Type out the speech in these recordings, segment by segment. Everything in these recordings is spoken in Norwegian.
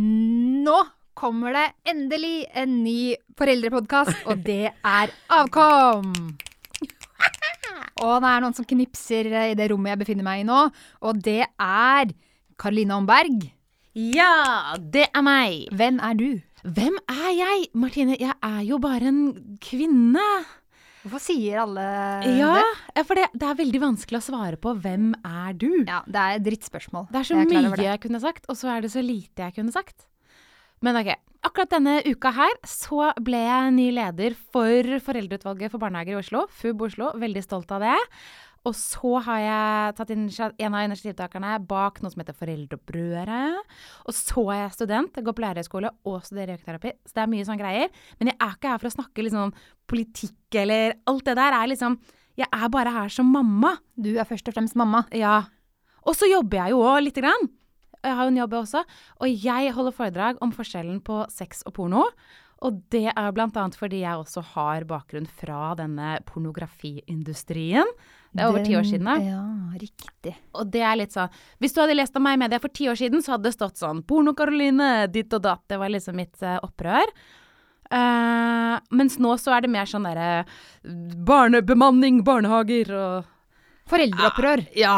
Nå kommer det endelig en ny foreldrepodkast, og det er Avkom! Og det er noen som knipser i det rommet jeg befinner meg i nå, og det er Karoline Omberg. Ja, det er meg! Hvem er du? Hvem er jeg? Martine, jeg er jo bare en kvinne. Hvorfor sier alle Ja, det? ja, for det, det er veldig vanskelig å svare på 'hvem er du'? Ja, det er et drittspørsmål. Det er så Jeg klar over mye jeg kunne sagt, og så er det så lite jeg kunne sagt. Men ok, akkurat denne uka her så ble jeg ny leder for Foreldreutvalget for barnehager i Oslo, FUB Oslo. Veldig stolt av det. Og så har jeg tatt initiat- en av initiativtakerne bak noe som heter Foreldrebrødre. Og så er jeg student, jeg går på lærerhøyskole og studerer økoterapi. Så det er mye sånne greier. Men jeg er ikke her for å snakke liksom politikk eller alt det der. Er liksom, jeg er bare her som mamma. Du er først og fremst mamma. Ja. Og så jobber jeg jo òg lite grann. Jeg har jo en jobb jeg også. Og jeg holder foredrag om forskjellen på sex og porno. Og det er bl.a. fordi jeg også har bakgrunn fra denne pornografiindustrien. Det er over ti år Den- siden. da. Ja, riktig. Og det er litt sånn Hvis du hadde lest om meg i media for ti år siden, så hadde det stått sånn Porno-Karoline, ditt og datt. Det var liksom mitt eh, opprør. Eh, mens nå så er det mer sånn derre Barnebemanning, barnehager og Foreldreopprør. Ja.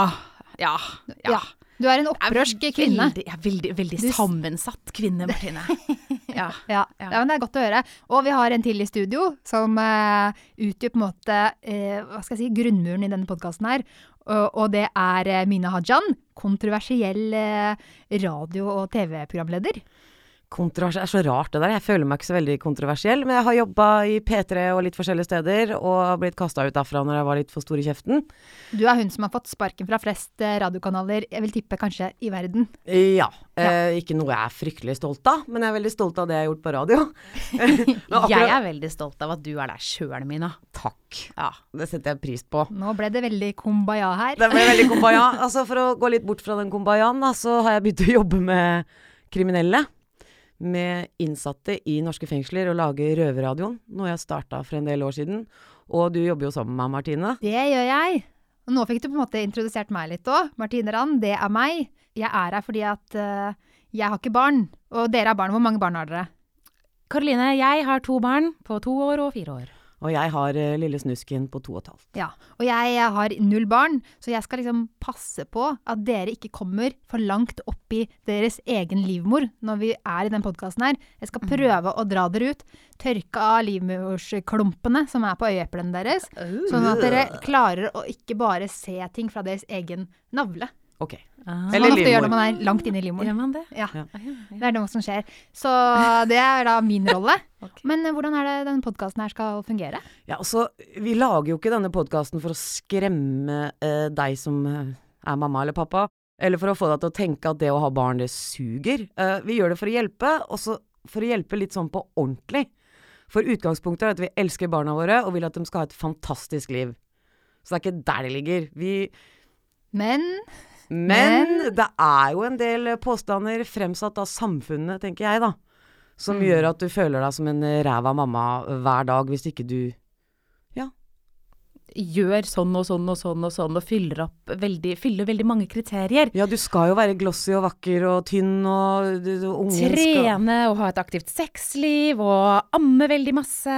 Ja. Ja. ja. Du er en Jeg er opprørsk veldig- kvinne. Veldig, jeg er veldig, veldig Du s- sammensatt kvinne, Martine. ja. Ja, ja. Ja. men det er godt å høre. Og vi har en til i studio som eh, utgjør på en måte eh, hva skal jeg si, grunnmuren i denne podkasten her. Og, og det er eh, Mina Hajan, kontroversiell eh, radio- og TV-programleder. Kontrovers er så rart det der. Jeg føler meg ikke så veldig kontroversiell, men jeg har jobba i P3 og litt forskjellige steder, og har blitt kasta ut derfra når jeg var litt for stor i kjeften. Du er hun som har fått sparken fra flest eh, radiokanaler, jeg vil tippe kanskje i verden. Ja. Eh, ikke noe jeg er fryktelig stolt av, men jeg er veldig stolt av det jeg har gjort på radio. Men akkurat- Jeg er veldig stolt av at du er der sjøl, Mina. Takk. Ja. Det setter jeg pris på. Nå ble det veldig kumbaya her. Det ble veldig kumbaya. Altså, for å gå litt bort fra den kumbayaen, da, så har jeg begynt å jobbe med kriminelle. Med innsatte i norske fengsler og lage Røverradioen, noe jeg starta for en del år siden. Og du jobber jo sammen med meg, Martine. Det gjør jeg. Og nå fikk du på en måte introdusert meg litt òg. Martine Rand, det er meg. Jeg er her fordi at eh, jeg har ikke barn. Og dere har barn. Hvor mange barn har dere? Karoline, jeg har to barn på to år og fire år. Og jeg har eh, lille snusken på to og et halvt. Ja, og jeg har null barn, så jeg skal liksom passe på at dere ikke kommer for langt opp i deres egen livmor når vi er i den podkasten her. Jeg skal prøve å dra dere ut, tørke av livmorsklumpene som er på øyeeplene deres, sånn at dere klarer å ikke bare se ting fra deres egen navle. Ok. Ah. Som man Eller ofte gjør livmor. når man er langt inne i livmoren. Gjør man det? Ja, Ah, ja, ja. det er noe som skjer. Så det er da min rolle. Ok. Men eh, hvordan er det denne podkasten her skal fungere? Ja, altså, vi lager jo ikke denne podkasten for å skremme eh, deg som eh, er mamma eller pappa, eller for å få deg til å tenke at det å ha barn, det suger. Eh, vi gjør det for å hjelpe, og så for å hjelpe litt sånn på ordentlig. For utgangspunktet er at vi elsker barna våre og vil at de skal ha et fantastisk liv. Så det er ikke der det ligger. Vi, Men men, Men- det er jo en del påstander fremsatt av samfunnet, tenker jeg, da. Som gjør at du føler deg som en ræv av mamma hver dag hvis ikke du Gjør sånn og sånn og sånn og sånn, og fyller opp veldig, fyller veldig mange kriterier. Ja, du skal jo være glossy og vakker og tynn og du, du, ungen skal Trene og ha et aktivt sexliv og amme veldig masse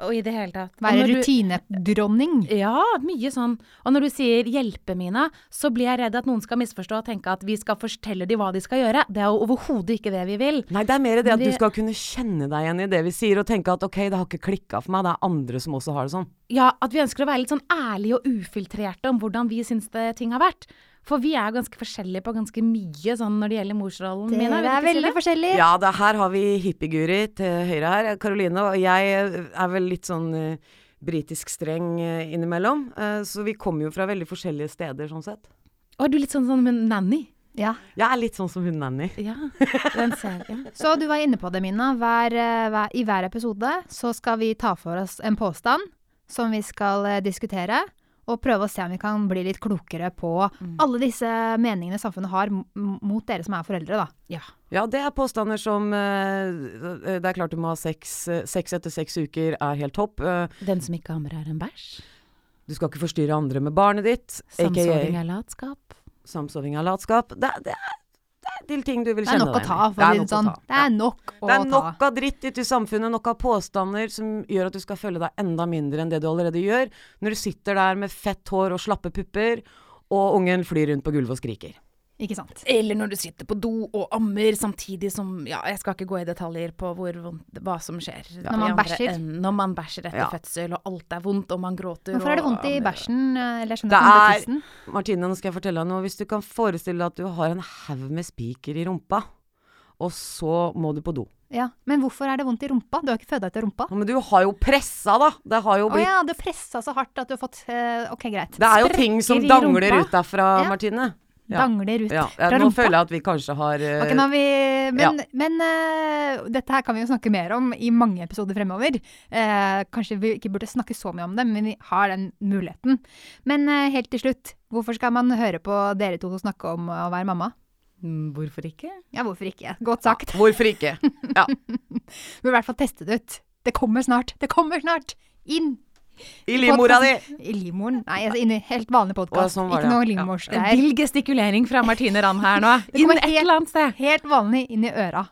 og i det hele tatt. Og være når du- rutinedronning. Ja, mye sånn. Og når du sier 'hjelpe, Mina', så blir jeg redd at noen skal misforstå og tenke at vi skal fortelle dem hva de skal gjøre. Det er jo overhodet ikke det vi vil. Nei, det er mer det at du Det- skal kunne kjenne deg igjen i det vi sier, og tenke at ok, det har ikke klikka for meg, det er andre som også har det sånn. Ja, at vi ønsker å være litt sånn ærlige og ufiltrerte om hvordan vi syns det ting har vært. For vi er ganske forskjellige på ganske mye sånn når det gjelder morsrollen. Dere er Mina, vil du ikke si veldig det? forskjellige. Ja, det her har vi hippieguri til høyre her, Karoline, og jeg er vel litt sånn eh, britisk streng eh, innimellom. eh, Så vi kommer jo fra veldig forskjellige steder, sånn sett. Og er du litt sånn som en nanny? Ja. Jeg er litt sånn som hun nanny. Ja. Den ser jeg. Så du var inne på det, Mina. Hver, eh, hver, I hver episode så skal vi ta for oss en påstand som vi skal eh, diskutere, og prøve å se om vi kan bli litt klokere på Mm. alle disse meningene samfunnet har m- m- mot dere som er foreldre, da. Ja. Ja, det er påstander som eh, Det er klart du må ha sex. eh, Sex etter seks uker er helt topp. eh, Den som ikke ammer, er en bæsj. Du skal ikke forstyrre andre med barnet ditt. Samsoving AKA er latskap. samsoving av latskap. Det, det, er, det til ting du vil Det er kjenne nok å deg ta, igjen i. for å si nok det sånn. ta. Det er nok å Det er ta. nok av dritt ute i samfunnet, nok av påstander som gjør at du skal føle deg enda mindre enn det du allerede gjør, når du sitter der med fett hår og slappe pupper, og ungen flyr rundt på gulvet og skriker. Ikke sant. Eller når du sitter på do og ammer samtidig som Ja, jeg skal ikke gå i detaljer på hvor vondt, hva som skjer. Når man i andre bæsjer. enden, Når man bæsjer etter Ja. fødsel, og alt er vondt, og man gråter Hvorfor er det og vondt i ammer. bæsjen? eh, Eller jeg skjønner Det ikke om det er- er tissen. Martine, nå skal jeg fortelle deg noe. Hvis du kan forestille deg at du har en haug med spiker i rumpa, og så må du på do. Ja. Men hvorfor er det vondt i rumpa? Du har ikke føda etter rumpa. Ja, Men du har jo pressa, da! Det har jo Å blitt ja, du pressa så hardt at du har fått eh, Ok, greit. Det er jo ting som sprekker i dangler rumpa. ut derfra, Ja. Martine. Ja. Dangler ut Ja, ja, fra nå rumpa. føler jeg at vi kanskje har eh, Ok, nå har vi, men men eh, dette her kan vi jo snakke mer om i mange episoder fremover. Eh, kanskje vi ikke burde snakke så mye om det, men vi har den muligheten. Men eh, helt til slutt, hvorfor skal man høre på dere to snakke om å være mamma? Mm, Hvorfor ikke? Ja, hvorfor ikke? Godt sagt. Ja, eh, hvorfor ikke? Vi bør i hvert fall teste det ut. Det kommer snart. Det kommer snart! Inn I livmora di! i livmoren. Nei, altså inn i helt vanlig Å, podkast. sånn var ikke det, ja. noe Ja. livmorsgreier. Vill gestikulering fra Martine Ramm her nå. Det Inn kommer et helt- eller annet sted. Helt vanlig inn i øra.